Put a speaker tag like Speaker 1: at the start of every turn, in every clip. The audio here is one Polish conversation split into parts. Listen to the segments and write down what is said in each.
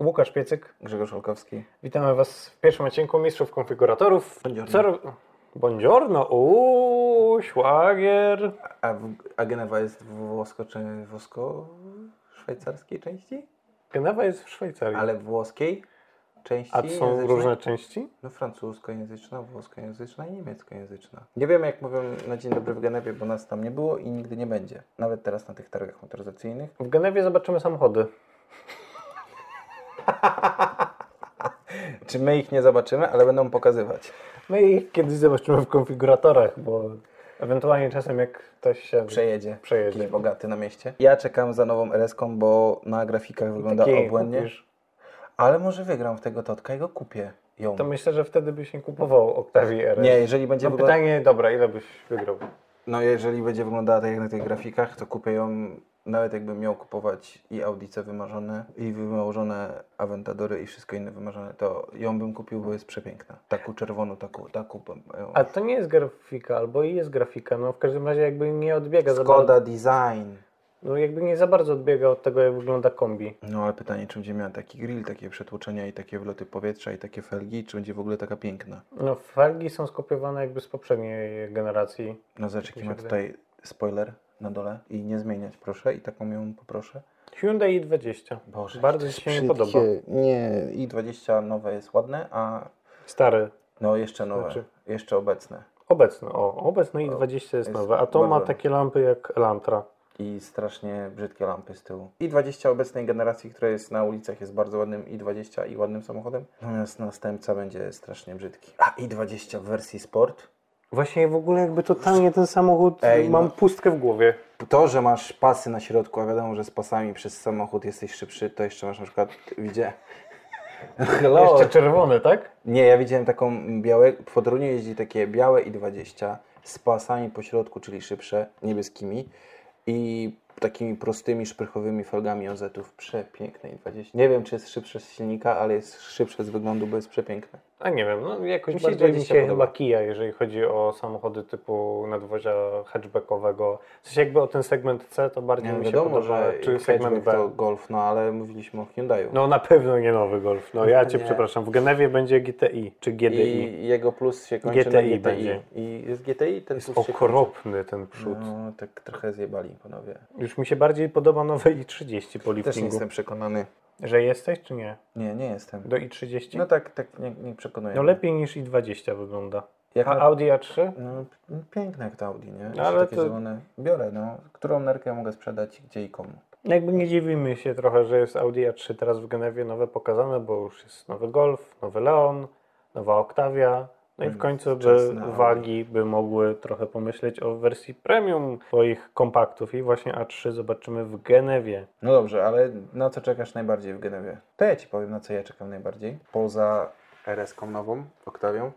Speaker 1: Łukasz Piecyk.
Speaker 2: Grzegorz Olkowski.
Speaker 1: Witamy Was w pierwszym odcinku Mistrzów Konfiguratorów.
Speaker 2: Buongiorno.
Speaker 1: Cer- Buongiorno, uuu, szwagier.
Speaker 2: A, w, a Genewa jest włosko czy włosko-szwajcarskiej części?
Speaker 1: Genewa jest w Szwajcarii.
Speaker 2: Ale włoskiej części
Speaker 1: A to są
Speaker 2: języcznej?
Speaker 1: różne części?
Speaker 2: No francuskojęzyczna, włoskojęzyczna i niemieckojęzyczna. Nie wiem jak mówią na dzień dobry w Genewie, bo nas tam nie było i nigdy nie będzie. Nawet teraz na tych targach motoryzacyjnych.
Speaker 1: W Genewie zobaczymy samochody.
Speaker 2: Czy my ich nie zobaczymy, ale będą pokazywać.
Speaker 1: My ich No kiedyś zobaczymy w konfiguratorach, bo ewentualnie czasem jak ktoś się
Speaker 2: Przejedzie.
Speaker 1: Przejedzie.
Speaker 2: Jakiś bogaty na mieście. Ja czekam za nową RS-ką, bo na grafikach wygląda
Speaker 1: takiej
Speaker 2: obłędnie.
Speaker 1: kupisz,
Speaker 2: Ale może wygram w tego Totka i go kupię. Ją.
Speaker 1: to myślę, że wtedy byś nie kupował Octavii RS.
Speaker 2: Nie, jeżeli będzie
Speaker 1: no
Speaker 2: wygląda-
Speaker 1: pytanie, dobra, ile byś wygrał?
Speaker 2: No jeżeli będzie wyglądała tak jak na tych grafikach, to kupię ją, nawet jakbym miał kupować i Audice wymarzone, i wymarzone Aventadory, i wszystko inne wymarzone, to ją bym kupił, bo jest przepiękna. Taką czerwoną, taką, taką... e,
Speaker 1: A to nie jest grafika, albo i jest grafika, no w każdym razie jakby nie odbiega za bardzo.
Speaker 2: Skoda Design.
Speaker 1: No jakby nie za bardzo odbiega od tego, jak wygląda kombi.
Speaker 2: No ale pytanie, czy będzie miała taki grill, takie przetłoczenia i takie wloty powietrza i takie felgi, czy będzie w ogóle taka piękna?
Speaker 1: No felgi są skopiowane jakby z poprzedniej generacji.
Speaker 2: No zobacz, jaki
Speaker 1: Mi się
Speaker 2: ma tutaj spoiler na dole i nie zmieniać proszę i taką ją poproszę.
Speaker 1: Hyundai i20.
Speaker 2: Boże,
Speaker 1: Bardzo
Speaker 2: jakie
Speaker 1: ci się nie
Speaker 2: brzydkie.
Speaker 1: podoba.
Speaker 2: Nie, i20 nowe jest ładne, a
Speaker 1: Stary,
Speaker 2: No, jeszcze nowe,
Speaker 1: Znaczy-
Speaker 2: jeszcze obecne.
Speaker 1: obecny, o, obecny i20 jest,
Speaker 2: jest
Speaker 1: nowy, a to ma
Speaker 2: bardzo-
Speaker 1: takie lampy jak Elantra.
Speaker 2: I strasznie brzydkie lampy z tyłu. I 20 obecnej generacji, która jest na ulicach, jest bardzo ładnym i20 i ładnym samochodem. Natomiast następca będzie strasznie brzydki. A i20 w wersji sport?
Speaker 1: Właśnie w ogóle jakby totalnie ten samochód,
Speaker 2: Ej,
Speaker 1: mam
Speaker 2: no.
Speaker 1: pustkę w głowie.
Speaker 2: To, że masz pasy na środku, a wiadomo, że z pasami przez samochód jesteś szybszy, to jeszcze masz na przykład, widzę. Hello.
Speaker 1: Jeszcze czerwony, tak?
Speaker 2: Nie, ja widziałem taką białe, w Podruniu jeździ takie białe i 20 z pasami po środku, czyli szybsze, niebieskimi i takimi prostymi, szprychowymi folgami OZ-ów. Przepiękne i 20. Nie wiem, czy jest szybsze z silnika, ale jest szybsze z wyglądu, bo jest przepiękne.
Speaker 1: A nie wiem, no jakoś
Speaker 2: Mi się
Speaker 1: bardziej mi
Speaker 2: 20
Speaker 1: się
Speaker 2: podoba.
Speaker 1: chyba kija, jeżeli chodzi o samochody typu nadwozia hatchbackowego. W sensie jakby o ten segment C, to bardziej
Speaker 2: Nie
Speaker 1: mi się
Speaker 2: wiadomo,
Speaker 1: podoba,
Speaker 2: że
Speaker 1: czy segment
Speaker 2: segment
Speaker 1: B.
Speaker 2: to Golf, no ale mówiliśmy o Hyundaiu.
Speaker 1: No na pewno nie nowy Golf. No ja cię
Speaker 2: Nie.
Speaker 1: przepraszam. W Genewie będzie GTI czy GDI.
Speaker 2: I jego plus się kończy na
Speaker 1: GTI
Speaker 2: GTI.
Speaker 1: będzie.
Speaker 2: I jest GTI, ten
Speaker 1: Jest
Speaker 2: plus się
Speaker 1: okropny ten przód.
Speaker 2: kończy. No, tak trochę zjebali panowie.
Speaker 1: Już mi się bardziej podoba nowy i30 po
Speaker 2: Też nie
Speaker 1: liftingu.
Speaker 2: jestem przekonany.
Speaker 1: Że jesteś czy nie?
Speaker 2: Nie, nie jestem.
Speaker 1: Do i30?
Speaker 2: No
Speaker 1: No,
Speaker 2: tak, tak nie, nie przekonuję. mnie.
Speaker 1: lepiej niż i20 wygląda.
Speaker 2: Jak
Speaker 1: A
Speaker 2: na-
Speaker 1: Audi A3?
Speaker 2: No, p- piękne jak to Audi, nie? Jeszcze
Speaker 1: ale
Speaker 2: takie
Speaker 1: to-
Speaker 2: zielone. Biorę, no. Którą nerkę mogę sprzedać, gdzie i komu?
Speaker 1: No Jakby nie dziwimy się trochę, że jest Audi A3 teraz w Genewie nowe pokazane, bo już jest nowy Golf, nowy Leon, nowa Octavia. No i w
Speaker 2: Mm,
Speaker 1: końcu by
Speaker 2: wczesne Audi.
Speaker 1: wagi by mogły trochę pomyśleć o wersji premium swoich kompaktów i właśnie A3 zobaczymy w Genewie.
Speaker 2: No dobrze, ale na co czekasz najbardziej w Genewie? To ja Ci powiem, na co ja czekam najbardziej. Poza RS-ką nową, Oktawią,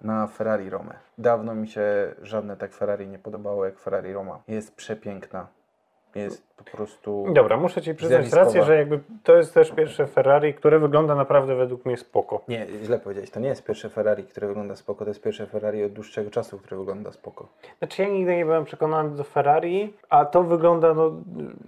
Speaker 2: na Ferrari Romę. Dawno mi się żadne tak Ferrari nie podobało jak Ferrari Roma. Jest przepiękna. Jest po prostu...
Speaker 1: Dobra, muszę Ci przyznać
Speaker 2: Zjawiskowa.
Speaker 1: rację, że jakby to jest też pierwsze Ferrari, które wygląda naprawdę według mnie spoko.
Speaker 2: Nie, źle powiedziałeś. To nie jest pierwsze Ferrari, które wygląda spoko. To jest pierwsze Ferrari od dłuższego czasu, które wygląda spoko.
Speaker 1: Znaczy ja nigdy nie byłem przekonany do Ferrari, a to wygląda no...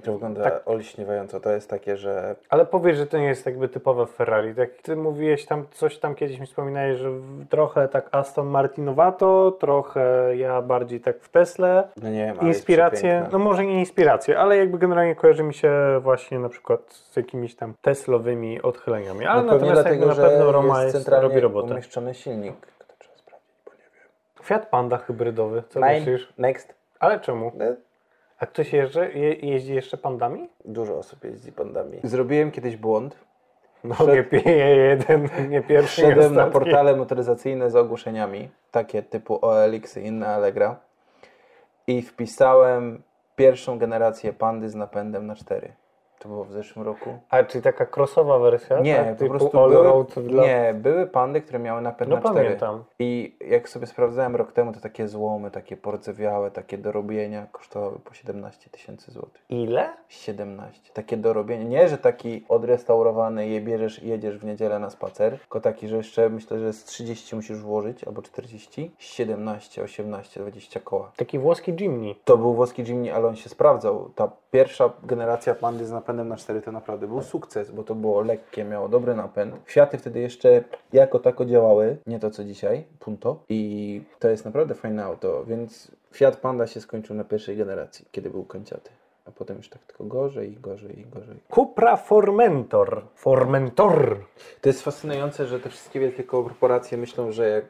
Speaker 2: To wygląda
Speaker 1: Tak.
Speaker 2: olśniewająco. To jest takie, że
Speaker 1: Ale powiesz, że to nie jest jakby typowe Ferrari. Tak jak Ty mówiłeś tam, coś tam kiedyś mi wspominałeś, że w- trochę tak Aston Martinowato, trochę ja bardziej tak w Tesle.
Speaker 2: no nie wiem, ale jest
Speaker 1: Inspiracje,
Speaker 2: przepiękna.
Speaker 1: no może nie inspiracje, ale jakby generalnie kojarzy mi się właśnie na przykład z jakimiś tam Teslowymi odchyleniami. Ale
Speaker 2: No, pewnie
Speaker 1: natomiast jakby na pewno Roma jest
Speaker 2: centralnie
Speaker 1: robi robotę.
Speaker 2: umieszczony silnik. To trzeba sprawdzić, bo nie wiem.
Speaker 1: Fiat Panda hybrydowy, co
Speaker 2: Nein,
Speaker 1: myślisz?
Speaker 2: Next.
Speaker 1: Ale czemu?
Speaker 2: No,
Speaker 1: A ktoś jeżdży, je, jeździ jeszcze pandami?
Speaker 2: Dużo osób jeździ pandami. Zrobiłem kiedyś błąd.
Speaker 1: No nie pije jeden, nie pierwszy, nie
Speaker 2: Wszedłem na
Speaker 1: ostatni.
Speaker 2: portale motoryzacyjne z ogłoszeniami, takie typu OLX i inne Allegra i wpisałem pierwszą generację pandy z napędem na 4. To było w zeszłym roku.
Speaker 1: A czyli taka crossowa wersja? tak?
Speaker 2: Nie, po
Speaker 1: Typu
Speaker 2: prostu
Speaker 1: all
Speaker 2: były,
Speaker 1: road dla...
Speaker 2: nie, były pandy, które miały napęd
Speaker 1: No
Speaker 2: na 4.
Speaker 1: pamiętam.
Speaker 2: I jak sobie sprawdzałem rok temu, to takie złomy, takie pordzewiałe, takie dorobienia kosztowały po 17 tysięcy złotych.
Speaker 1: Ile?
Speaker 2: 17. Takie dorobienie. Nie, że taki odrestaurowany je bierzesz i jedziesz w niedzielę na spacer, tylko taki, że jeszcze myślę, że z 30 musisz włożyć, albo 40. 17, 18, 20 koła.
Speaker 1: Taki włoski Jimny.
Speaker 2: To był włoski Jimny, ale on się sprawdzał. Ta pierwsza generacja pandy z napędem na 4 to naprawdę był sukces, bo to było lekkie, miało dobry napęd. Fiaty wtedy jeszcze jako tako działały, nie to co dzisiaj, punto. I to jest naprawdę fajne auto, więc Fiat Panda się skończył na pierwszej generacji, kiedy był końcaty. A potem już tak tylko gorzej i gorzej i gorzej.
Speaker 1: Cupra Formentor. Formentor.
Speaker 2: To jest fascynujące, że te wszystkie wielkie korporacje myślą, że jak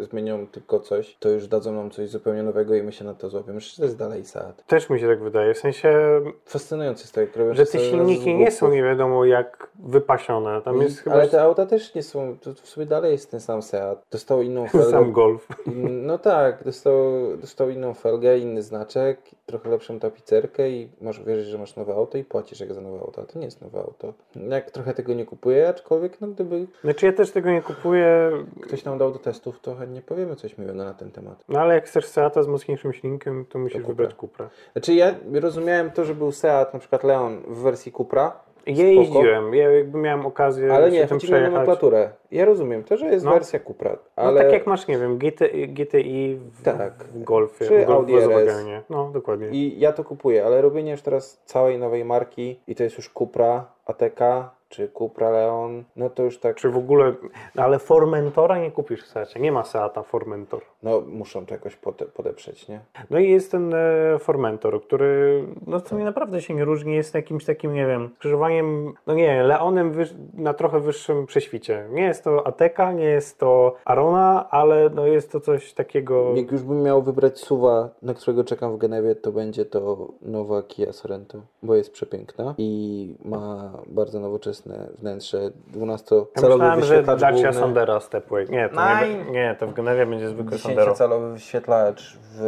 Speaker 2: y, zmienią tylko coś, to już dadzą nam coś zupełnie nowego i my się na to złapiemy. Przecież to jest dalej sad.
Speaker 1: Też mi się tak wydaje. W sensie,
Speaker 2: Fascynujące jest to, jak robią
Speaker 1: że
Speaker 2: to
Speaker 1: te
Speaker 2: coraz
Speaker 1: silniki
Speaker 2: głupie.
Speaker 1: nie są nie wiadomo jak wypasione. Tam jest chyba
Speaker 2: Mm, Ale te auta też nie są, to w sumie dalej jest ten sam Seat. Dostał inną felgę.
Speaker 1: sam golf.
Speaker 2: No tak, dostał, dostał inną felgę, inny znaczek, trochę lepszą tapicerkę i możesz wierzyć, że masz nowe auto i płacisz jak za nowe auto. A to nie jest nowe auto. Jak trochę tego nie kupuję, aczkolwiek no gdyby
Speaker 1: Znaczy ja też tego nie kupuję,
Speaker 2: ktoś nam dał do testów, to nie powiemy coś miłego na ten temat.
Speaker 1: no ale jak chcesz Seata z mocniejszym silnikiem, to musisz
Speaker 2: Cupra.
Speaker 1: wybrać Cupra.
Speaker 2: Znaczy ja rozumiałem to, że był Seat, na przykład Leon w wersji Cupra,
Speaker 1: Ja jeździłem, ja jakby miałem okazję
Speaker 2: ale
Speaker 1: Yy, się
Speaker 2: nie,
Speaker 1: tym
Speaker 2: chodzi mi o
Speaker 1: przejechać.
Speaker 2: nomenklaturę. Ja rozumiem to, że jest
Speaker 1: No.
Speaker 2: wersja Cupra,
Speaker 1: No
Speaker 2: ale
Speaker 1: tak jak masz, nie wiem, GTI, GTI w,
Speaker 2: Tak.
Speaker 1: w Golfie,
Speaker 2: Czy
Speaker 1: w Golf
Speaker 2: Audi RS.
Speaker 1: Volkswagenie. No, dokładnie.
Speaker 2: i ja to kupuję, ale robienie już teraz całej nowej marki i to jest już Cupra, ATK czy Cupra Leon, no to już tak,
Speaker 1: Czy w ogóle, no ale Formentora nie kupisz w Seacie, nie ma Seata Formentor.
Speaker 2: no muszą to jakoś pode, podeprzeć, nie?
Speaker 1: No i jest ten e, Formentor, który no w sumie naprawdę się nie różni, jest jakimś takim, nie wiem, skrzyżowaniem, no nie wiem, Leonem wyż, na trochę wyższym prześwicie. Nie jest to Ateka, nie jest to Arona, ale no jest to coś takiego...
Speaker 2: Jak już bym miał wybrać suwa, na którego czekam w Genewie, to będzie to nowa Kia Sorento, bo jest przepiękna i ma bardzo nowoczesne wnętrze,
Speaker 1: Ja
Speaker 2: 12-calowy
Speaker 1: myślałem, że
Speaker 2: wyświetlacz
Speaker 1: Dacia
Speaker 2: główny.
Speaker 1: Sandera Stepway. Nie, to nie,
Speaker 2: Nein.
Speaker 1: be- nie, to w Genewie będzie zwykły Sandero.
Speaker 2: 10-calowy wyświetlacz w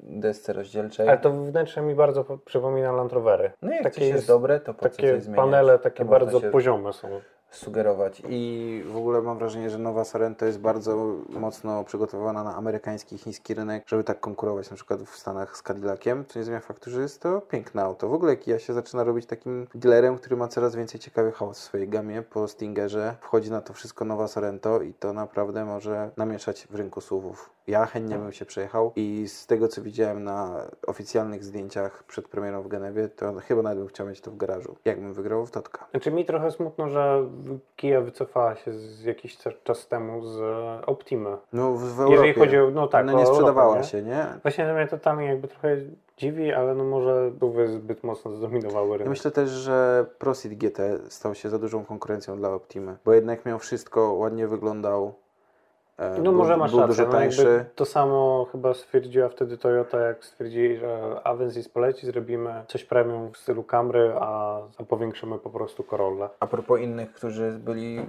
Speaker 2: desce rozdzielczej.
Speaker 1: Ale to wnętrze mi bardzo po- przypomina Land Rovery.
Speaker 2: no jak
Speaker 1: takie
Speaker 2: coś jest
Speaker 1: jest-
Speaker 2: dobre, to po co
Speaker 1: Takie
Speaker 2: coś zmieniać?
Speaker 1: panele, takie
Speaker 2: To można
Speaker 1: bardzo
Speaker 2: się
Speaker 1: poziome są.
Speaker 2: sugerować. I w ogóle mam wrażenie, że nowa Sorento jest bardzo mocno przygotowana na amerykański, chiński rynek, żeby tak konkurować na przykład w Stanach z Cadillaciem, co nie zmienia faktu, że jest to piękne auto. W ogóle Kia się zaczyna robić takim dealerem, który ma coraz więcej ciekawych aut w swojej gamie po Stingerze. Wchodzi na to wszystko nowa Sorento i to naprawdę może namieszać w rynku suwów. Ja chętnie bym się przejechał i z tego, co widziałem na oficjalnych zdjęciach przed premierą w Genewie, to chyba nawet bym chciał mieć to w garażu. Jakbym wygrał w Totka.
Speaker 1: Znaczy mi trochę smutno, że Kia wycofała się z jakiś ca- czas temu z e, Optimy.
Speaker 2: No w, w
Speaker 1: Jeżeli
Speaker 2: Europie.
Speaker 1: chodzi o, no tak,
Speaker 2: Ona
Speaker 1: o
Speaker 2: nie
Speaker 1: Europę,
Speaker 2: sprzedawała
Speaker 1: nie?
Speaker 2: się, nie?
Speaker 1: Właśnie to mnie totalnie jakby trochę dziwi, ale no może były zbyt mocno zdominowały
Speaker 2: Ja
Speaker 1: rynek.
Speaker 2: myślę też, że Prosit GT stał się za dużą konkurencją dla Optimy, bo jednak miał wszystko, ładnie wyglądał. e,
Speaker 1: no
Speaker 2: był,
Speaker 1: może masz
Speaker 2: był
Speaker 1: rację,
Speaker 2: dużo
Speaker 1: no
Speaker 2: tańszy.
Speaker 1: jakby to samo chyba stwierdziła wtedy Toyota, jak stwierdzili, że Avensis poleci, zrobimy coś premium w stylu Camry, a powiększymy po prostu Corolla.
Speaker 2: A propos innych, którzy byli y,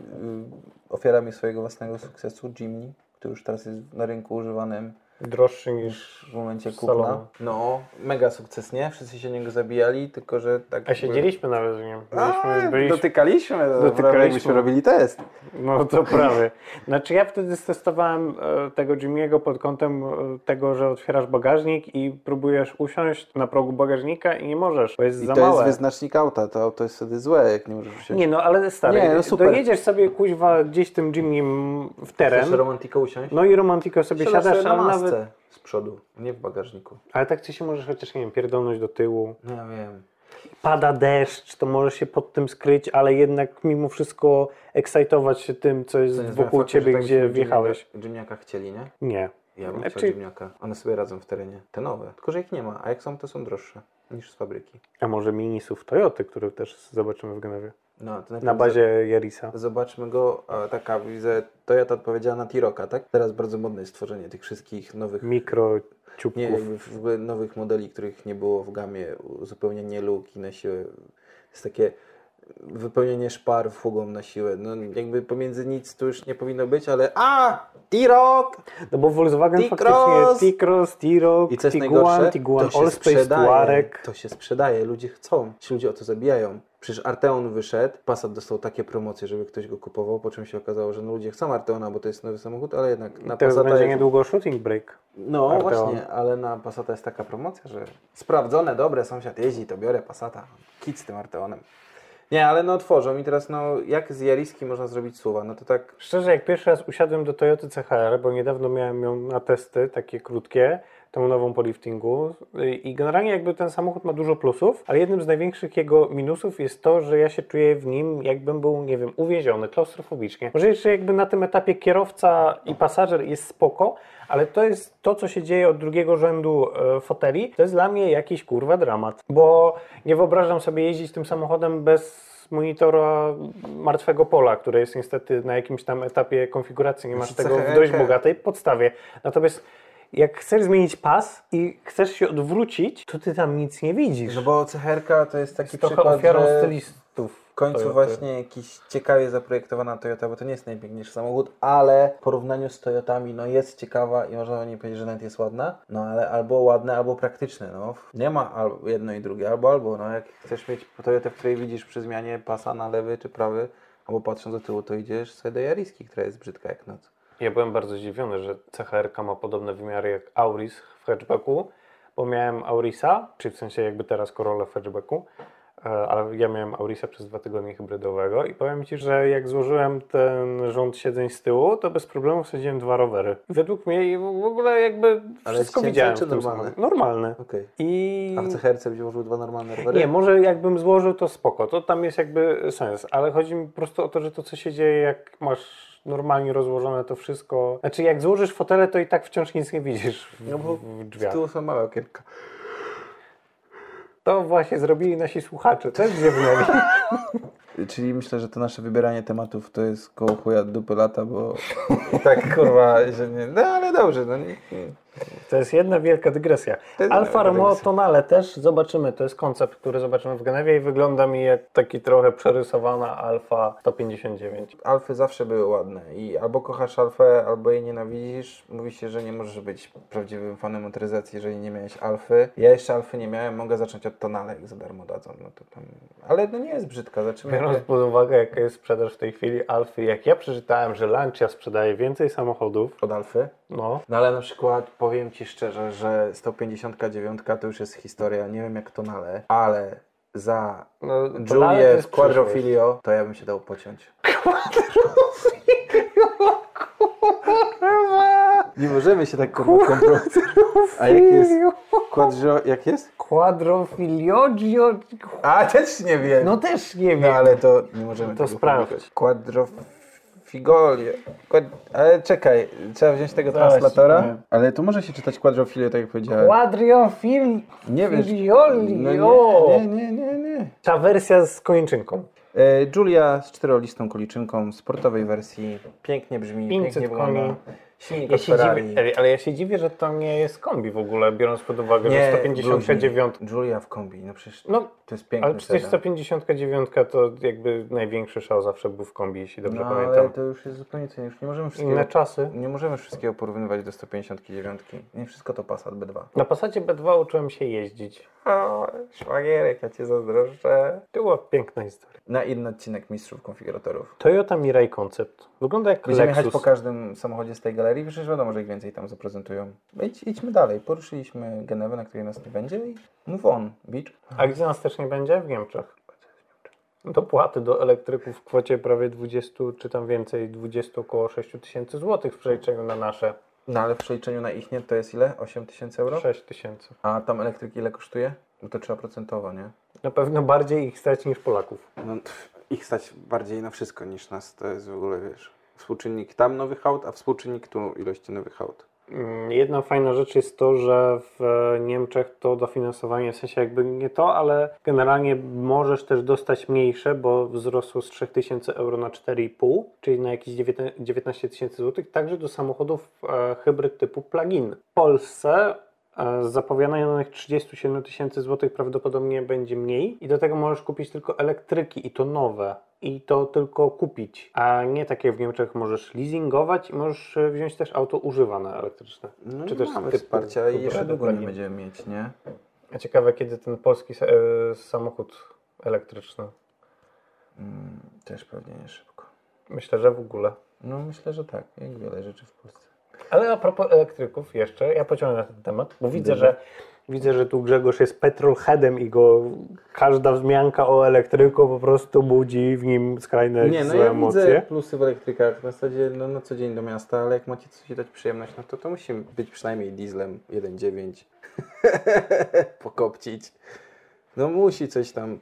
Speaker 2: ofiarami swojego własnego sukcesu, Jimny, który już teraz jest na rynku używanym
Speaker 1: Droższy niż...
Speaker 2: w momencie
Speaker 1: Z
Speaker 2: kupna.
Speaker 1: salonu.
Speaker 2: No, mega sukces, nie? Wszyscy się niego zabijali, tylko że tak...
Speaker 1: A siedzieliśmy nawet z nim.
Speaker 2: A,
Speaker 1: Byliśmy, byliśmy,
Speaker 2: Dotykaliśmy, dotykaliśmy.
Speaker 1: Dotykaliśmy.
Speaker 2: Myśmy robili test.
Speaker 1: No to prawie. Znaczy ja wtedy stestowałem e, tego Jimmy'ego pod kątem e, tego, że otwierasz bagażnik i próbujesz usiąść na progu bagażnika i nie możesz, bo jest
Speaker 2: I
Speaker 1: za
Speaker 2: to jest
Speaker 1: małe.
Speaker 2: wyznacznik auta, to auto jest wtedy złe, jak nie możesz usiąść.
Speaker 1: Nie no, ale stary,
Speaker 2: Nie, no
Speaker 1: to
Speaker 2: super.
Speaker 1: jedziesz sobie kuźwa gdzieś tym Jimmy'm w teren,
Speaker 2: romantiką usiąść?
Speaker 1: no i romantico sobie siadasz, ale nawet...
Speaker 2: z przodu, nie w bagażniku.
Speaker 1: Ale tak ty się możesz chociaż, nie wiem, pierdolnąć do tyłu.
Speaker 2: No ja wiem.
Speaker 1: Pada deszcz, to możesz się pod tym skryć, ale jednak mimo wszystko ekscytować się tym, co jest wokół ciebie,
Speaker 2: tak
Speaker 1: gdzie wjechałeś.
Speaker 2: Dżimniaka chcieli, nie?
Speaker 1: Nie.
Speaker 2: Ja bym
Speaker 1: Znaczy-
Speaker 2: chciał dżimniaka. One sobie radzą w terenie. Te nowe. Tylko, że ich nie ma, a jak są, to są droższe niż z fabryki.
Speaker 1: A może minisów Toyoty, który też zobaczymy w Genewie.
Speaker 2: No, to
Speaker 1: Na
Speaker 2: najpierw
Speaker 1: bazie Jarisa.
Speaker 2: z- Zobaczmy go, a taka widzę, Toyota odpowiedziała na Tiroka, tak? Teraz bardzo modne jest tworzenie tych wszystkich nowych
Speaker 1: Mikro
Speaker 2: Nie,
Speaker 1: ciupków.
Speaker 2: jakby w ogóle nowych modeli, których nie było w gamie, uzupełnienie luk i na siłę. Jest takie wypełnienie szpar fugą na siłę. No jakby pomiędzy nic tu już nie powinno być, ale a! T-Rock!
Speaker 1: No bo Volkswagen
Speaker 2: T-Cross!
Speaker 1: faktycznie T-Cross,
Speaker 2: I
Speaker 1: T-Rock,
Speaker 2: co jest
Speaker 1: Tiguan,
Speaker 2: najgorsze?
Speaker 1: Tiguan
Speaker 2: to się
Speaker 1: Allspace,
Speaker 2: sprzedaje.
Speaker 1: Tuareg.
Speaker 2: To się sprzedaje, ludzie chcą. Ci ludzie o to zabijają. Przecież Arteon wyszedł, Passat dostał takie promocje, żeby ktoś go kupował, po czym się okazało, że no ludzie chcą Arteona, bo to jest nowy samochód, ale jednak na
Speaker 1: Teraz
Speaker 2: Passata
Speaker 1: będzie
Speaker 2: jest
Speaker 1: niedługo shooting break.
Speaker 2: No
Speaker 1: Arteon.
Speaker 2: właśnie, ale na Passata jest taka promocja, że sprawdzone, dobre, sąsiad jeździ, to biorę Passata. Kit z tym Arteonem. Nie, ale no tworzą i teraz no jak z Jariski można zrobić słowa? No to tak,
Speaker 1: Szczerze, jak pierwszy raz usiadłem do Toyoty CHR, bo niedawno miałem ją na testy, takie krótkie, tą nową po liftingu y, i generalnie jakby ten samochód ma dużo plusów, ale jednym z największych jego minusów jest to, że ja się czuję w nim jakbym był, nie wiem, uwięziony klaustrofobicznie. Może jeszcze jakby na tym etapie kierowca i pasażer jest spoko, ale to jest to, co się dzieje od drugiego rzędu e, foteli, to jest dla mnie jakiś kurwa dramat, bo nie wyobrażam sobie jeździć tym samochodem bez monitora martwego pola, które jest niestety na jakimś tam etapie konfiguracji, nie masz
Speaker 2: Znaczy,
Speaker 1: tego w
Speaker 2: cechy
Speaker 1: dość
Speaker 2: LK.
Speaker 1: bogatej podstawie. Natomiast jak chcesz zmienić pas i chcesz się odwrócić, to ty tam nic nie widzisz.
Speaker 2: No bo CHR to jest taki
Speaker 1: Jest trochę
Speaker 2: przykład,
Speaker 1: ofiarą
Speaker 2: że
Speaker 1: stylistów.
Speaker 2: w końcu
Speaker 1: Toyoty.
Speaker 2: właśnie jakiś ciekawie zaprojektowana Toyota, bo to nie jest najpiękniejszy samochód, ale w porównaniu z Toyotami, no jest ciekawa i można nie powiedzieć, że nawet jest ładna, no ale albo ładne, albo praktyczne, no. Nie ma albo jedno i drugie, albo albo, no jak chcesz mieć Toyotę, w której widzisz przy zmianie pasa na lewy czy prawy, albo patrząc do tyłu, to idziesz sobie do Jariski, która jest brzydka jak noc.
Speaker 1: Ja byłem bardzo zdziwiony, że CHR ma podobne wymiary jak Auris w hatchbacku, bo miałem Aurisa, czyli w sensie jakby teraz Corolla w hatchbacku, e, ale ja miałem Aurisa przez dwa tygodnie hybrydowego i powiem Ci, że jak złożyłem ten rząd siedzeń z tyłu, to bez problemu wsadziłem dwa rowery. Według mnie i w ogóle jakby
Speaker 2: Ale
Speaker 1: wszystko
Speaker 2: ścięte
Speaker 1: widziałem.
Speaker 2: czy
Speaker 1: w tym
Speaker 2: normalne?
Speaker 1: samochodzie. Normalne.
Speaker 2: Okej.
Speaker 1: I...
Speaker 2: A w CHR-ce wziął dwa normalne rowery?
Speaker 1: Nie, może jakbym złożył to spoko, to tam jest jakby sens, ale chodzi mi po prostu o to, że to co się dzieje, jak masz normalnie rozłożone to wszystko, znaczy jak złożysz fotele, to i tak wciąż nic nie widzisz w,
Speaker 2: No bo
Speaker 1: w
Speaker 2: Z
Speaker 1: drzwiach.
Speaker 2: tyłu są małe okienka.
Speaker 1: To właśnie zrobili nasi słuchacze, też ziewnęli.
Speaker 2: Czyli myślę, że to nasze wybieranie tematów to jest koło chuja dupy lata, bo tak kurwa, że nie, no ale dobrze, no nie, nie.
Speaker 1: To jest jedna wielka dygresja.
Speaker 2: To jest
Speaker 1: Alfa
Speaker 2: jedna wielka
Speaker 1: Romeo
Speaker 2: dygresja.
Speaker 1: Tonale też zobaczymy, to jest koncept, który zobaczymy w Genewie i wygląda mi jak taki trochę przerysowana Alfa 159.
Speaker 2: Alfy zawsze były ładne i albo kochasz alfę, albo jej nienawidzisz. Mówi się, że nie możesz być prawdziwym fanem motoryzacji, jeżeli nie miałeś alfy. Ja jeszcze alfy nie miałem, mogę zacząć od tonale, jak za darmo dadzą, no to tam... Ale no nie jest brzydka, zaczynamy.
Speaker 1: Biorąc pod uwagę, jaka jest sprzedaż w tej chwili Alfy, jak ja przeczytałem, że Lancia sprzedaje więcej samochodów,
Speaker 2: Od alfy?
Speaker 1: no,
Speaker 2: No ale na przykład powiem Ci szczerze, że 159 to już jest historia, nie wiem jak tonale, ale za
Speaker 1: No,
Speaker 2: Julię w Quadrofilio, to ja bym się dał pociąć. Nie możemy się tak kurwa kompromisować. A jak jest? Quadro... Jak jest?
Speaker 1: Quadrofilio?
Speaker 2: A, też nie wiem.
Speaker 1: No też nie
Speaker 2: No
Speaker 1: wiem.
Speaker 2: ale to nie możemy
Speaker 1: To
Speaker 2: tego
Speaker 1: sprawdź.
Speaker 2: publikować. Quadrofigolio. Quad... Ale czekaj, trzeba wziąć tego
Speaker 1: Zaraz ci
Speaker 2: translatora.
Speaker 1: powiem.
Speaker 2: Ale tu może się czytać quadrofilio, tak jak powiedziałem.
Speaker 1: Quadriofil...
Speaker 2: Nie wiesz.
Speaker 1: Filiolio.
Speaker 2: No nie, nie, nie, nie. nie.
Speaker 1: Ta wersja z kończynką.
Speaker 2: E, Julia z czterolistą koliczynką, sportowej wersji. Pięknie brzmi,
Speaker 1: 500
Speaker 2: pięknie wygląda.
Speaker 1: koni.
Speaker 2: Silnik
Speaker 1: Ja
Speaker 2: od
Speaker 1: się
Speaker 2: Ferrari.
Speaker 1: dziwię, ej, ale ja się dziwię, że to nie jest kombi w ogóle, biorąc pod uwagę, że 159...
Speaker 2: bluźni. Julia w kombi, no przecież
Speaker 1: No,
Speaker 2: to jest piękny
Speaker 1: ale przecież
Speaker 2: sedan.
Speaker 1: 159 to jakby największy szał zawsze był w kombi, jeśli dobrze
Speaker 2: No ale
Speaker 1: pamiętam. Znaczy-
Speaker 2: to już jest zupełnie co, już nie możemy wszystkiego...
Speaker 1: Inne czasy.
Speaker 2: Nie możemy wszystkiego porównywać do 159. Nie wszystko to Passat B2.
Speaker 1: Na Passacie B2 uczyłem się jeździć.
Speaker 2: O, szwagierek, ja cię zazdroszczę.
Speaker 1: To była piękna historia.
Speaker 2: Na inny odcinek Mistrzów Konfiguratorów.
Speaker 1: Toyota Mirai Concept. Wygląda jak
Speaker 2: Będziemy
Speaker 1: Lexus.
Speaker 2: jechać po każdym samochodzie z tej galerii, przecież wiadomo, że ich więcej tam zaprezentują. No Idź, idźmy dalej. Poruszyliśmy Genewę, na której nas nie będzie i move on, bitch.
Speaker 1: A gdzie nas też nie będzie? W Niemczech. Dopłaty do elektryków w kwocie prawie 20 czy tam więcej, 20 około 6 tysięcy złotych w przeliczeniu na nasze
Speaker 2: No ale w przeliczeniu na ich nie to jest ile? 8 tysięcy euro?
Speaker 1: 6 tysięcy.
Speaker 2: A tam elektryk ile kosztuje? No to trzeba procentowo, nie?
Speaker 1: Na pewno bardziej ich stać niż Polaków.
Speaker 2: No, pff, ich stać bardziej na wszystko niż nas, to jest w ogóle, wiesz, współczynnik tam nowych aut, a współczynnik tu ilości nowych aut.
Speaker 1: Mm, Jedna fajna rzecz jest to, że w e, Niemczech to dofinansowanie, w sensie jakby nie to, ale generalnie możesz też dostać mniejsze, bo wzrosło z 3000 euro na 4,5, czyli na jakieś 19 19 tysięcy złotych, także do samochodów e, hybryd typu plug-in. W Polsce e, z zapowiadanych 37 tysięcy złotych prawdopodobnie będzie mniej i do tego możesz kupić tylko elektryki i to nowe. I to tylko kupić, a nie takie jak w Niemczech możesz leasingować i możesz e, wziąć też auto używane elektryczne.
Speaker 2: No,
Speaker 1: Czy
Speaker 2: Czy
Speaker 1: też
Speaker 2: też mamy
Speaker 1: typu-
Speaker 2: wsparcia i
Speaker 1: typu
Speaker 2: jeszcze długo nie
Speaker 1: plug-in.
Speaker 2: będziemy mieć, nie?
Speaker 1: A ciekawe, kiedy ten polski sa- e, samochód elektryczny.
Speaker 2: Mm, też pewnie nie szybko.
Speaker 1: Myślę, że w ogóle.
Speaker 2: No myślę, że tak, jak wiele rzeczy w Polsce.
Speaker 1: Ale a propos elektryków jeszcze, ja pociągnę na ten temat, bo widzę,
Speaker 2: Dobra.
Speaker 1: że Widzę, że tu Grzegorz jest petrolheadem i go każda wzmianka o elektryku po prostu budzi w nim skrajne
Speaker 2: Nie, no
Speaker 1: złe
Speaker 2: ja
Speaker 1: emocje.
Speaker 2: widzę plusy w elektrykach. W zasadzie no, na co dzień do miasta, ale jak macie coś dać przyjemność, no to to musi być przynajmniej dieslem 1.9. Pokopcić. No musi coś tam.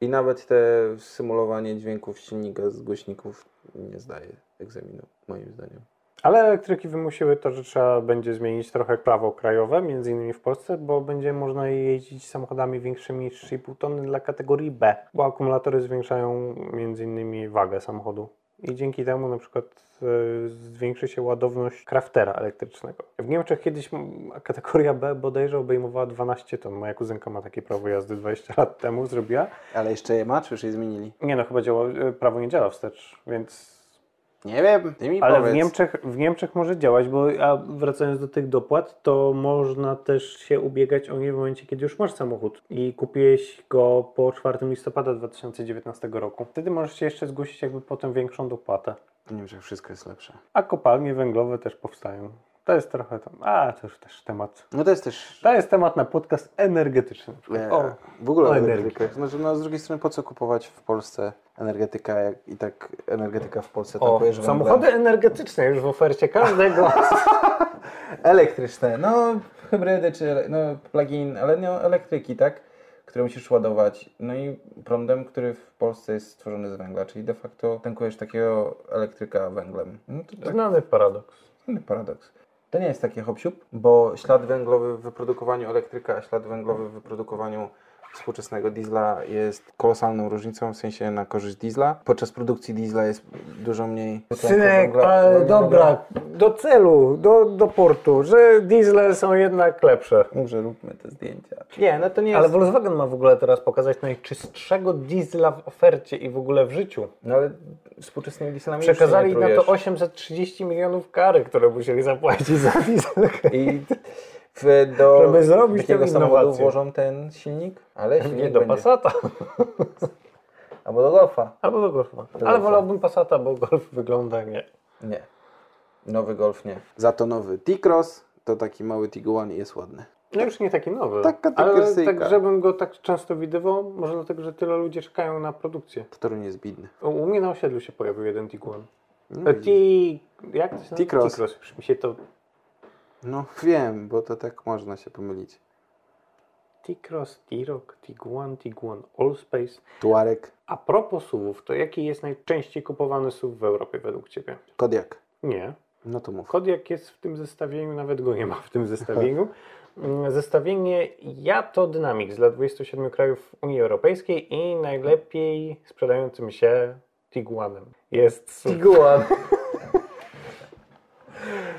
Speaker 2: I nawet te symulowanie dźwięków silnika z głośników nie zdaje egzaminu, moim zdaniem.
Speaker 1: Ale elektryki wymusiły to, że trzeba będzie zmienić trochę prawo krajowe, między innymi w Polsce, bo będzie można jeździć samochodami większymi niż 3,5 tony dla kategorii B, bo akumulatory zwiększają między innymi wagę samochodu. I dzięki temu na przykład e, zwiększy się ładowność kraftera elektrycznego. W Niemczech kiedyś m, kategoria B bodajże obejmowała 12 ton. Moja kuzynka ma takie prawo jazdy 20 lat temu, zrobiła.
Speaker 2: Ale jeszcze je ma, czy już je zmienili?
Speaker 1: Nie no, chyba działa, e, prawo nie działa wstecz, więc
Speaker 2: Nie wiem, ty mi
Speaker 1: ale
Speaker 2: powiedz.
Speaker 1: w Niemczech, w Niemczech może działać, bo a wracając do tych dopłat, to można też się ubiegać o nie w momencie, kiedy już masz samochód i kupiłeś go po 4 listopada 2019 roku. Wtedy możesz się jeszcze zgłosić jakby potem większą dopłatę.
Speaker 2: W Niemczech wszystko jest lepsze.
Speaker 1: A kopalnie węglowe też powstają. To jest trochę tam, a to już też temat.
Speaker 2: No to jest też
Speaker 1: To jest temat na podcast energetyczny.
Speaker 2: Nie,
Speaker 1: O,
Speaker 2: E, w ogóle
Speaker 1: o
Speaker 2: energetykę.
Speaker 1: energetykę.
Speaker 2: Znaczy, no, z drugiej strony, po co kupować w Polsce energetyka, jak i tak energetyka w Polsce
Speaker 1: o
Speaker 2: tankujesz węglem?
Speaker 1: samochody energetyczne już w ofercie każdego.
Speaker 2: Elektryczne, no hybrydy czy ele- no, plug-in, ale nie elektryki, tak? Które musisz ładować. No i prądem, który w Polsce jest stworzony z węgla, czyli de facto tankujesz takiego elektryka węglem. No to tak,
Speaker 1: Znany paradoks.
Speaker 2: inny paradoks. To nie jest takie hop bo ślad węglowy w wyprodukowaniu elektryka, a ślad węglowy w wyprodukowaniu współczesnego diesla jest kolosalną różnicą, w sensie na korzyść diesla. Podczas produkcji diesla jest dużo mniej... dwutlenku
Speaker 1: Synek,
Speaker 2: węgla-
Speaker 1: ale
Speaker 2: węgla.
Speaker 1: dobra, do celu, do, do portu, że diesle są jednak lepsze.
Speaker 2: Dobrze, róbmy te zdjęcia. Nie, no to nie jest...
Speaker 1: Ale Volkswagen ma w ogóle teraz pokazać najczystszego diesla w ofercie i w ogóle w życiu.
Speaker 2: No ale współczesnymi dieslami już
Speaker 1: Przekazali
Speaker 2: się
Speaker 1: na
Speaker 2: nie
Speaker 1: to
Speaker 2: trujesz.
Speaker 1: 830 milionów kary, które musieli zapłacić za dieselkę.
Speaker 2: I w, do
Speaker 1: Żeby zrobić
Speaker 2: takiego
Speaker 1: tę
Speaker 2: samochodu
Speaker 1: innowację.
Speaker 2: włożą ten silnik, ale silnik
Speaker 1: Nie do
Speaker 2: będzie.
Speaker 1: Passata,
Speaker 2: Albo do Golfa.
Speaker 1: albo do Golfa. Ale
Speaker 2: Golfa.
Speaker 1: wolałbym Passata, bo Golf wygląda nie.
Speaker 2: Nie. Nowy Golf nie. Za to nowy T-Cross, to taki mały Tiguan i jest ładny.
Speaker 1: No już nie taki nowy,
Speaker 2: Taka to
Speaker 1: ale
Speaker 2: kiersyjka.
Speaker 1: tak, żebym go tak często widywał, może dlatego, że tyle ludzie czekają na produkcję.
Speaker 2: W Toruniu jest bidny.
Speaker 1: U- U mnie na osiedlu się pojawił jeden Tiguan.
Speaker 2: No,
Speaker 1: E,
Speaker 2: widzisz.
Speaker 1: Ti... Jak to się nazywa?
Speaker 2: T-Cross.
Speaker 1: T-Cross. Już mi się to...
Speaker 2: no wiem, bo to tak można się pomylić.
Speaker 1: T-Cross, T-Rock, Tiguan, Tiguan, Allspace.
Speaker 2: Tuarek,
Speaker 1: A propos SUVów, to jaki jest najczęściej kupowany SUV w Europie według Ciebie?
Speaker 2: Kodiak.
Speaker 1: Nie.
Speaker 2: No to mów.
Speaker 1: Kodiak jest w tym zestawieniu, nawet go nie ma w tym zestawieniu. Mm, Zestawienie Jato Dynamics dla 27 krajów Unii Europejskiej i najlepiej sprzedającym się Tiguanem jest SUV.
Speaker 2: Tiguan.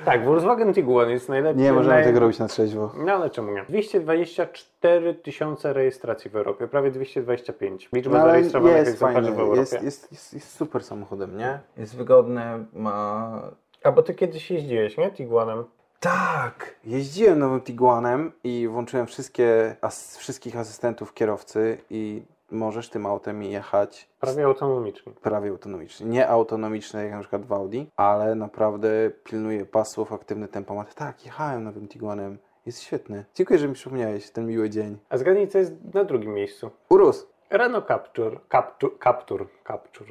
Speaker 1: Tak, Volkswagen Tiguan jest najlepiej.
Speaker 2: Nie możemy
Speaker 1: naj-
Speaker 2: tego robić na trzeźwo.
Speaker 1: No ale czemu nie? 224 tysiące rejestracji w Europie, prawie 225. Liczba
Speaker 2: No, ale
Speaker 1: zarejestrowanych
Speaker 2: jest
Speaker 1: egzemplarzy w
Speaker 2: fajny,
Speaker 1: Europie.
Speaker 2: jest, jest, jest, jest super samochodem, nie? Jest wygodny, ma...
Speaker 1: A bo ty kiedyś jeździłeś, nie? Tiguanem.
Speaker 2: Tak! Jeździłem nowym Tiguanem i włączyłem wszystkie, as, wszystkich asystentów kierowcy i możesz tym autem jechać
Speaker 1: Prawie autonomiczny.
Speaker 2: prawie autonomiczny. Nie autonomiczny jak na przykład w Audi, ale naprawdę pilnuje pasów, aktywny tempomat. Tak, jechałem nowym Tiguanem. Jest świetny. Dziękuję, że mi przypomniałeś ten miły dzień.
Speaker 1: A zgadnij, co jest na drugim miejscu.
Speaker 2: Urus,
Speaker 1: Renault Captur. Captur. Captur. Captur.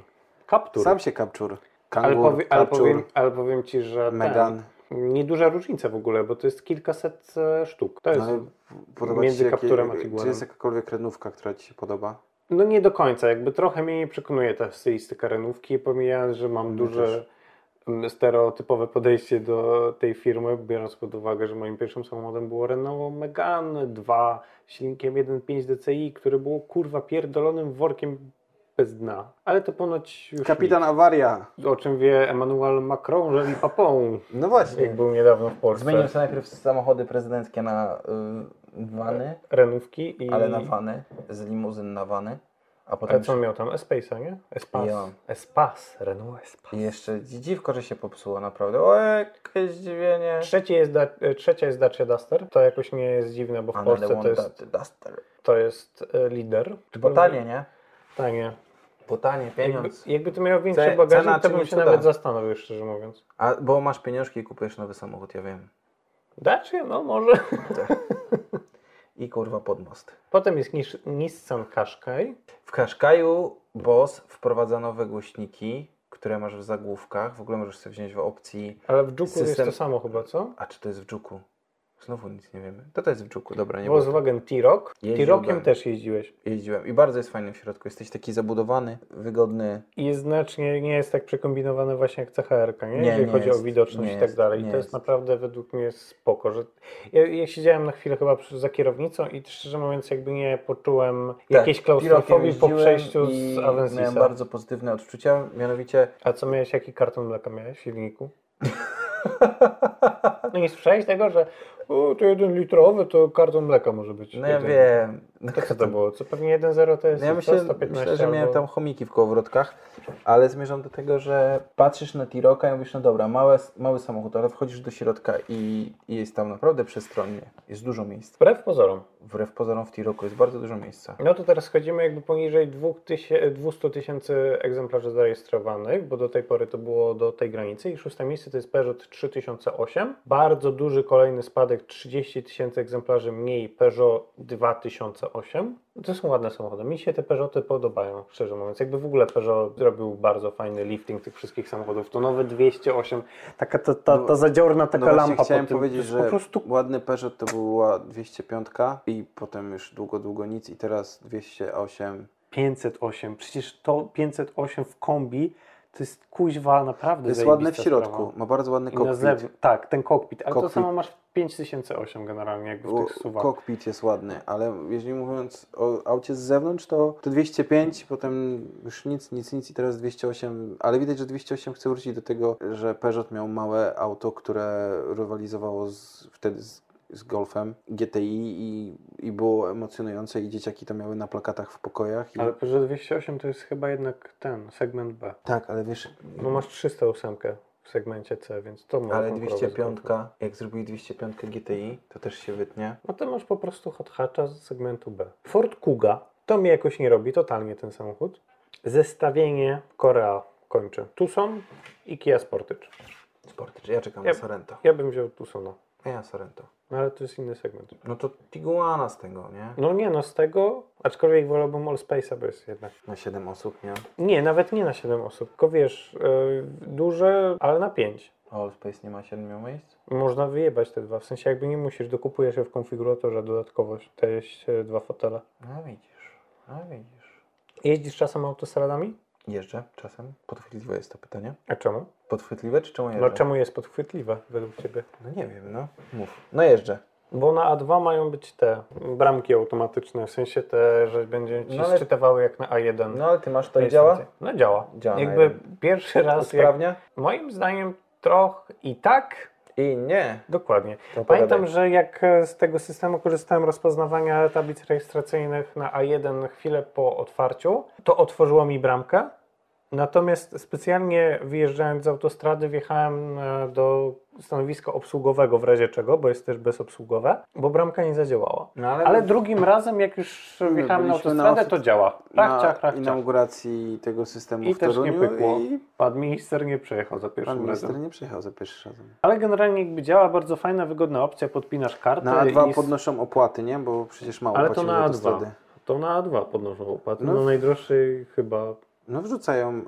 Speaker 1: Captur.
Speaker 2: sam się kapczur.
Speaker 1: ale,
Speaker 2: Kangur,
Speaker 1: powie, ale,
Speaker 2: kapczur,
Speaker 1: powiem, Tak. ale powiem ci, że. ten,
Speaker 2: Megan. No,
Speaker 1: Nieduża różnica w ogóle, bo to jest kilkaset e, sztuk. To jest.
Speaker 2: Ale podoba
Speaker 1: między
Speaker 2: ci się
Speaker 1: kapturem a
Speaker 2: Czy
Speaker 1: Tiguanem.
Speaker 2: jest jakakolwiek renówka, która ci się podoba?
Speaker 1: No nie do końca, jakby trochę mnie nie przekonuje ta stylistyka renówki, pomijając, że mam
Speaker 2: Mnie
Speaker 1: duże
Speaker 2: też.
Speaker 1: mm, stereotypowe podejście do tej firmy, biorąc pod uwagę, że moim pierwszym samochodem było Renault Megane 2 z silnikiem 1.5 DCI, który było kurwa pierdolonym workiem bez dna. Ale to ponoć już
Speaker 2: Kapitan Awaria.
Speaker 1: nic. O czym wie Emmanuel Macron, jeżeli papą,
Speaker 2: No
Speaker 1: jak
Speaker 2: właśnie.
Speaker 1: był niedawno w Polsce.
Speaker 2: Zmienił sobie najpierw samochody prezydenckie na y, wany,
Speaker 1: Renówki Tak. i... Tak,
Speaker 2: ale na wany, z limuzyn na wany, a
Speaker 1: Ale
Speaker 2: potem
Speaker 1: co on miał tam? Espace'a, nie? Espace.
Speaker 2: Ja.
Speaker 1: Espace, Renault Espace.
Speaker 2: i jeszcze dziwko, że się popsuło naprawdę. O, jakie zdziwienie.
Speaker 1: Trzecie jest da, e, trzecia jest Dacia Duster. To jakoś nie jest dziwne, bo w
Speaker 2: Ale
Speaker 1: Polsce to
Speaker 2: one
Speaker 1: jest,
Speaker 2: that duster.
Speaker 1: to jest e, lider.
Speaker 2: Bo tanie, nie?
Speaker 1: Tanie.
Speaker 2: Bo tanie,
Speaker 1: Jakby,
Speaker 2: pieniądz.
Speaker 1: jakby to miało większy
Speaker 2: Ce-
Speaker 1: bagażnik,
Speaker 2: cena
Speaker 1: to
Speaker 2: czyni
Speaker 1: bym się
Speaker 2: cuda.
Speaker 1: nawet zastanowił, szczerze mówiąc.
Speaker 2: A, bo masz pieniążki i kupujesz nowy samochód, ja wiem.
Speaker 1: Dacia? No może.
Speaker 2: i kurwa pod most.
Speaker 1: Potem jest Nis- Nissan Qashqai.
Speaker 2: W Qashqai'u Boss wprowadza nowe głośniki, które masz w zagłówkach. W ogóle możesz sobie wziąć w opcji.
Speaker 1: Ale w Juku jest
Speaker 2: System-
Speaker 1: to samo chyba, co?
Speaker 2: A czy to jest w Dżuku? Znowu nic nie wiemy. To to jest w Dżuku, dobra, nie było.
Speaker 1: Volkswagen T-Roc.
Speaker 2: Jeździłbym.
Speaker 1: T-Rociem też jeździłeś.
Speaker 2: Jeździłem i bardzo jest fajny w środku. Jesteś taki zabudowany, wygodny.
Speaker 1: I jest znacznie nie jest tak przekombinowane właśnie jak CHR-ka, nie?
Speaker 2: Nie,
Speaker 1: Jeżeli
Speaker 2: nie
Speaker 1: chodzi
Speaker 2: jest.
Speaker 1: o widoczność i
Speaker 2: Nie
Speaker 1: tak
Speaker 2: jest,
Speaker 1: dalej. I
Speaker 2: nie
Speaker 1: to jest
Speaker 2: jest.
Speaker 1: naprawdę według mnie spoko. Że ja, ja siedziałem na chwilę chyba przy, za kierownicą i szczerze mówiąc jakby nie poczułem jakiejś klaustrofobii po
Speaker 2: Pirokiem
Speaker 1: przejściu
Speaker 2: jeździłem
Speaker 1: z
Speaker 2: Tak, i
Speaker 1: Avensisa.
Speaker 2: Miałem bardzo pozytywne odczucia, mianowicie
Speaker 1: A co miałeś, jaki karton mleka miałeś w silniku? No nie słyszałeś tego, że o, to jeden litrowy to karton mleka może być.
Speaker 2: No ja
Speaker 1: Jeden.
Speaker 2: wiem.
Speaker 1: To co to było? Co pewnie 1,0 to jest
Speaker 2: No ja
Speaker 1: co,
Speaker 2: myślę,
Speaker 1: 115
Speaker 2: myślę, że miałem
Speaker 1: albo...
Speaker 2: tam chomiki w kołowrotkach, ale zmierzam do tego, że patrzysz na Tiroka i mówisz, no dobra, małe, mały samochód, ale wchodzisz do środka i, i jest tam naprawdę przestronnie. Jest dużo miejsc.
Speaker 1: Wbrew pozorom.
Speaker 2: Wbrew pozorom w Tiroku jest bardzo dużo miejsca.
Speaker 1: No to teraz schodzimy jakby poniżej 2000 200 tysięcy egzemplarzy zarejestrowanych, bo do tej pory to było do tej granicy i szóste miejsce to jest Peugeot 3008. Bardzo duży kolejny spadek, 30 tysięcy egzemplarzy mniej Peugeot 2008. To są ładne samochody. Mi się te Peugeoty podobają, szczerze mówiąc. Jakby w ogóle Peugeot zrobił bardzo fajny lifting tych wszystkich samochodów. To nowe 208, taka ta, ta, ta
Speaker 2: No-
Speaker 1: zadziorna taka
Speaker 2: no
Speaker 1: lampa
Speaker 2: właśnie chciałem
Speaker 1: pod tym.
Speaker 2: powiedzieć,
Speaker 1: to jest
Speaker 2: że
Speaker 1: po prostu
Speaker 2: ładny Peugeot to była 205 i potem już długo, długo nic i teraz 208.
Speaker 1: 508. Przecież to 508 w kombi to jest kuźwa naprawdę
Speaker 2: Jest
Speaker 1: zajebista
Speaker 2: ładny w środku,
Speaker 1: sprawa.
Speaker 2: ma bardzo ładny
Speaker 1: I na
Speaker 2: kokpit.
Speaker 1: zewnątrz, tak, ten kokpit. Ale
Speaker 2: Kokpit.
Speaker 1: to samo masz w 5008 generalnie jakby w
Speaker 2: O,
Speaker 1: tych suwach.
Speaker 2: Kokpit jest ładny, ale jeżeli mówiąc o aucie z zewnątrz, to, to 205, potem już nic, nic, nic i teraz 208, ale widać, że 208 chce wrócić do tego, że Peugeot miał małe auto, które rywalizowało z, wtedy z, z Golfem GTI i, i było emocjonujące i dzieciaki to miały na plakatach w pokojach. I...
Speaker 1: Ale Peugeot 208 to jest chyba jednak ten, segment B.
Speaker 2: Tak, ale wiesz,
Speaker 1: No masz no, 308 w segmencie C, więc to może
Speaker 2: ale
Speaker 1: konkurować
Speaker 2: 205,
Speaker 1: trochę.
Speaker 2: jak zrobili 205 GTI, to też się wytnie.
Speaker 1: No to masz po prostu hot hatcha z segmentu B. Ford Kuga, to mnie jakoś nie robi, totalnie ten samochód. Zestawienie Korea kończy. Tucson i Kia Sportage.
Speaker 2: Sportage, ja czekam
Speaker 1: Ja-
Speaker 2: na Sorento.
Speaker 1: Ja bym wziął Tucsona.
Speaker 2: Ja na Sorento.
Speaker 1: No ale to jest inny segment.
Speaker 2: No to Tiguana z tego, nie?
Speaker 1: No nie, no z tego, aczkolwiek wolałbym All Space'a, bo jest jednak.
Speaker 2: Na 7 osób, nie?
Speaker 1: Nie, nawet nie na 7 osób, tylko wiesz, yy, duże, ale na 5.
Speaker 2: All Space nie ma 7 miejsc?
Speaker 1: Można wyjebać te dwa, w sensie jakby nie musisz, dokupujesz je w konfiguratorze dodatkowo te e, dwa fotele.
Speaker 2: No widzisz, no widzisz.
Speaker 1: Jeździsz czasem autostradami?
Speaker 2: Jeżdżę czasem. Podchwytliwe jest to pytanie.
Speaker 1: A czemu?
Speaker 2: Podchwytliwe czy czemu jeżdżę?
Speaker 1: No czemu jest podchwytliwe według Ciebie?
Speaker 2: No nie wiem, no. Mów. No jeżdżę.
Speaker 1: Bo na A2 mają być te bramki automatyczne, w sensie te, że będzie ci
Speaker 2: No ale-
Speaker 1: sczytywały jak na A1.
Speaker 2: No ale ty masz to i
Speaker 1: Jest
Speaker 2: działa?
Speaker 1: więcej. No działa.
Speaker 2: Działa na
Speaker 1: Jakby
Speaker 2: jeden.
Speaker 1: pierwszy raz, jak,
Speaker 2: Usprawnia?
Speaker 1: moim zdaniem trochę i tak,
Speaker 2: I nie.
Speaker 1: Dokładnie.
Speaker 2: To
Speaker 1: Pamiętam,
Speaker 2: opowiadaj.
Speaker 1: że jak e, z tego systemu korzystałem rozpoznawania tablic rejestracyjnych na A1 chwilę po otwarciu, to otworzyło mi bramkę. Natomiast specjalnie wyjeżdżając z autostrady, wjechałem e, do stanowiska obsługowego w razie czego, bo jest też bezobsługowe, bo bramka nie zadziałała.
Speaker 2: No
Speaker 1: Ale drugim razem, jak już wjechałem na
Speaker 2: byliśmy na
Speaker 1: autostradę,
Speaker 2: osi-
Speaker 1: to działa. Tak, Rachciach,
Speaker 2: na
Speaker 1: rachciach.
Speaker 2: inauguracji tego systemu
Speaker 1: I
Speaker 2: w
Speaker 1: też nie
Speaker 2: Toruniu
Speaker 1: pykło.
Speaker 2: i
Speaker 1: Pan minister nie przejechał za
Speaker 2: pan
Speaker 1: pierwszym
Speaker 2: minister
Speaker 1: razem.
Speaker 2: nie przyjechał za pierwszy razem.
Speaker 1: Ale generalnie jakby działa, bardzo fajna, wygodna opcja, podpinasz kartę
Speaker 2: Na A2
Speaker 1: i
Speaker 2: podnoszą opłaty, nie? Bo przecież mało
Speaker 1: Ale to
Speaker 2: płacisz
Speaker 1: na
Speaker 2: za
Speaker 1: A2.
Speaker 2: autostrady.
Speaker 1: To na A2 podnoszą opłaty.
Speaker 2: No.
Speaker 1: No, najdroższy chyba.
Speaker 2: No wrzucają e,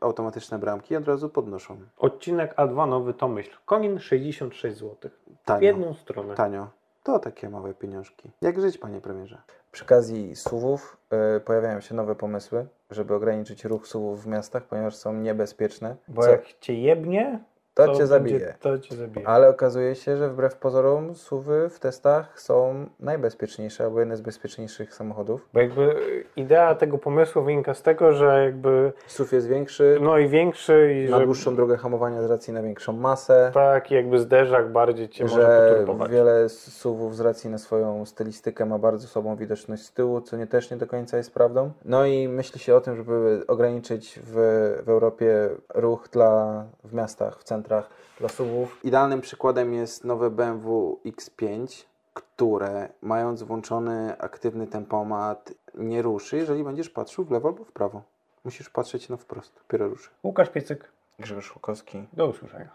Speaker 2: automatyczne bramki i od razu podnoszą.
Speaker 1: Odcinek A2 nowy to myśl. Konin 66 zł. W
Speaker 2: Tanio.
Speaker 1: jedną stronę.
Speaker 2: Tanio. To takie małe pieniążki. Jak żyć, panie premierze? Przy okazji suwów y, pojawiają się nowe pomysły, żeby ograniczyć ruch suwów w miastach, ponieważ są niebezpieczne.
Speaker 1: Bo
Speaker 2: Co-
Speaker 1: jak cię jebnie,
Speaker 2: to,
Speaker 1: to
Speaker 2: cię zabije.
Speaker 1: Będzie, to cię zabije.
Speaker 2: Ale okazuje się, że wbrew pozorom suwy w testach są najbezpieczniejsze albo jedne z bezpieczniejszych samochodów.
Speaker 1: Bo jakby y, idea tego pomysłu wynika z tego, że jakby
Speaker 2: SUV jest większy,
Speaker 1: no i większy i
Speaker 2: ma
Speaker 1: że
Speaker 2: dłuższą drogę hamowania z racji na większą masę.
Speaker 1: tak jakby zderzak bardziej cię może
Speaker 2: że
Speaker 1: poturbować.
Speaker 2: wiele suwów z racji na swoją stylistykę ma bardzo słabą widoczność z tyłu, co nie też nie do końca jest prawdą. No i myśli się o tym, żeby ograniczyć w, w Europie ruch dla, w miastach, w centrach dla suwów. Idealnym przykładem jest nowe BMW X5, które mając włączony aktywny tempomat nie ruszy, jeżeli będziesz patrzył w lewo albo w prawo. Musisz patrzeć na wprost, dopiero ruszy.
Speaker 1: Łukasz Piecyk,
Speaker 2: Grzegorz Łukowski.
Speaker 1: do usłyszenia.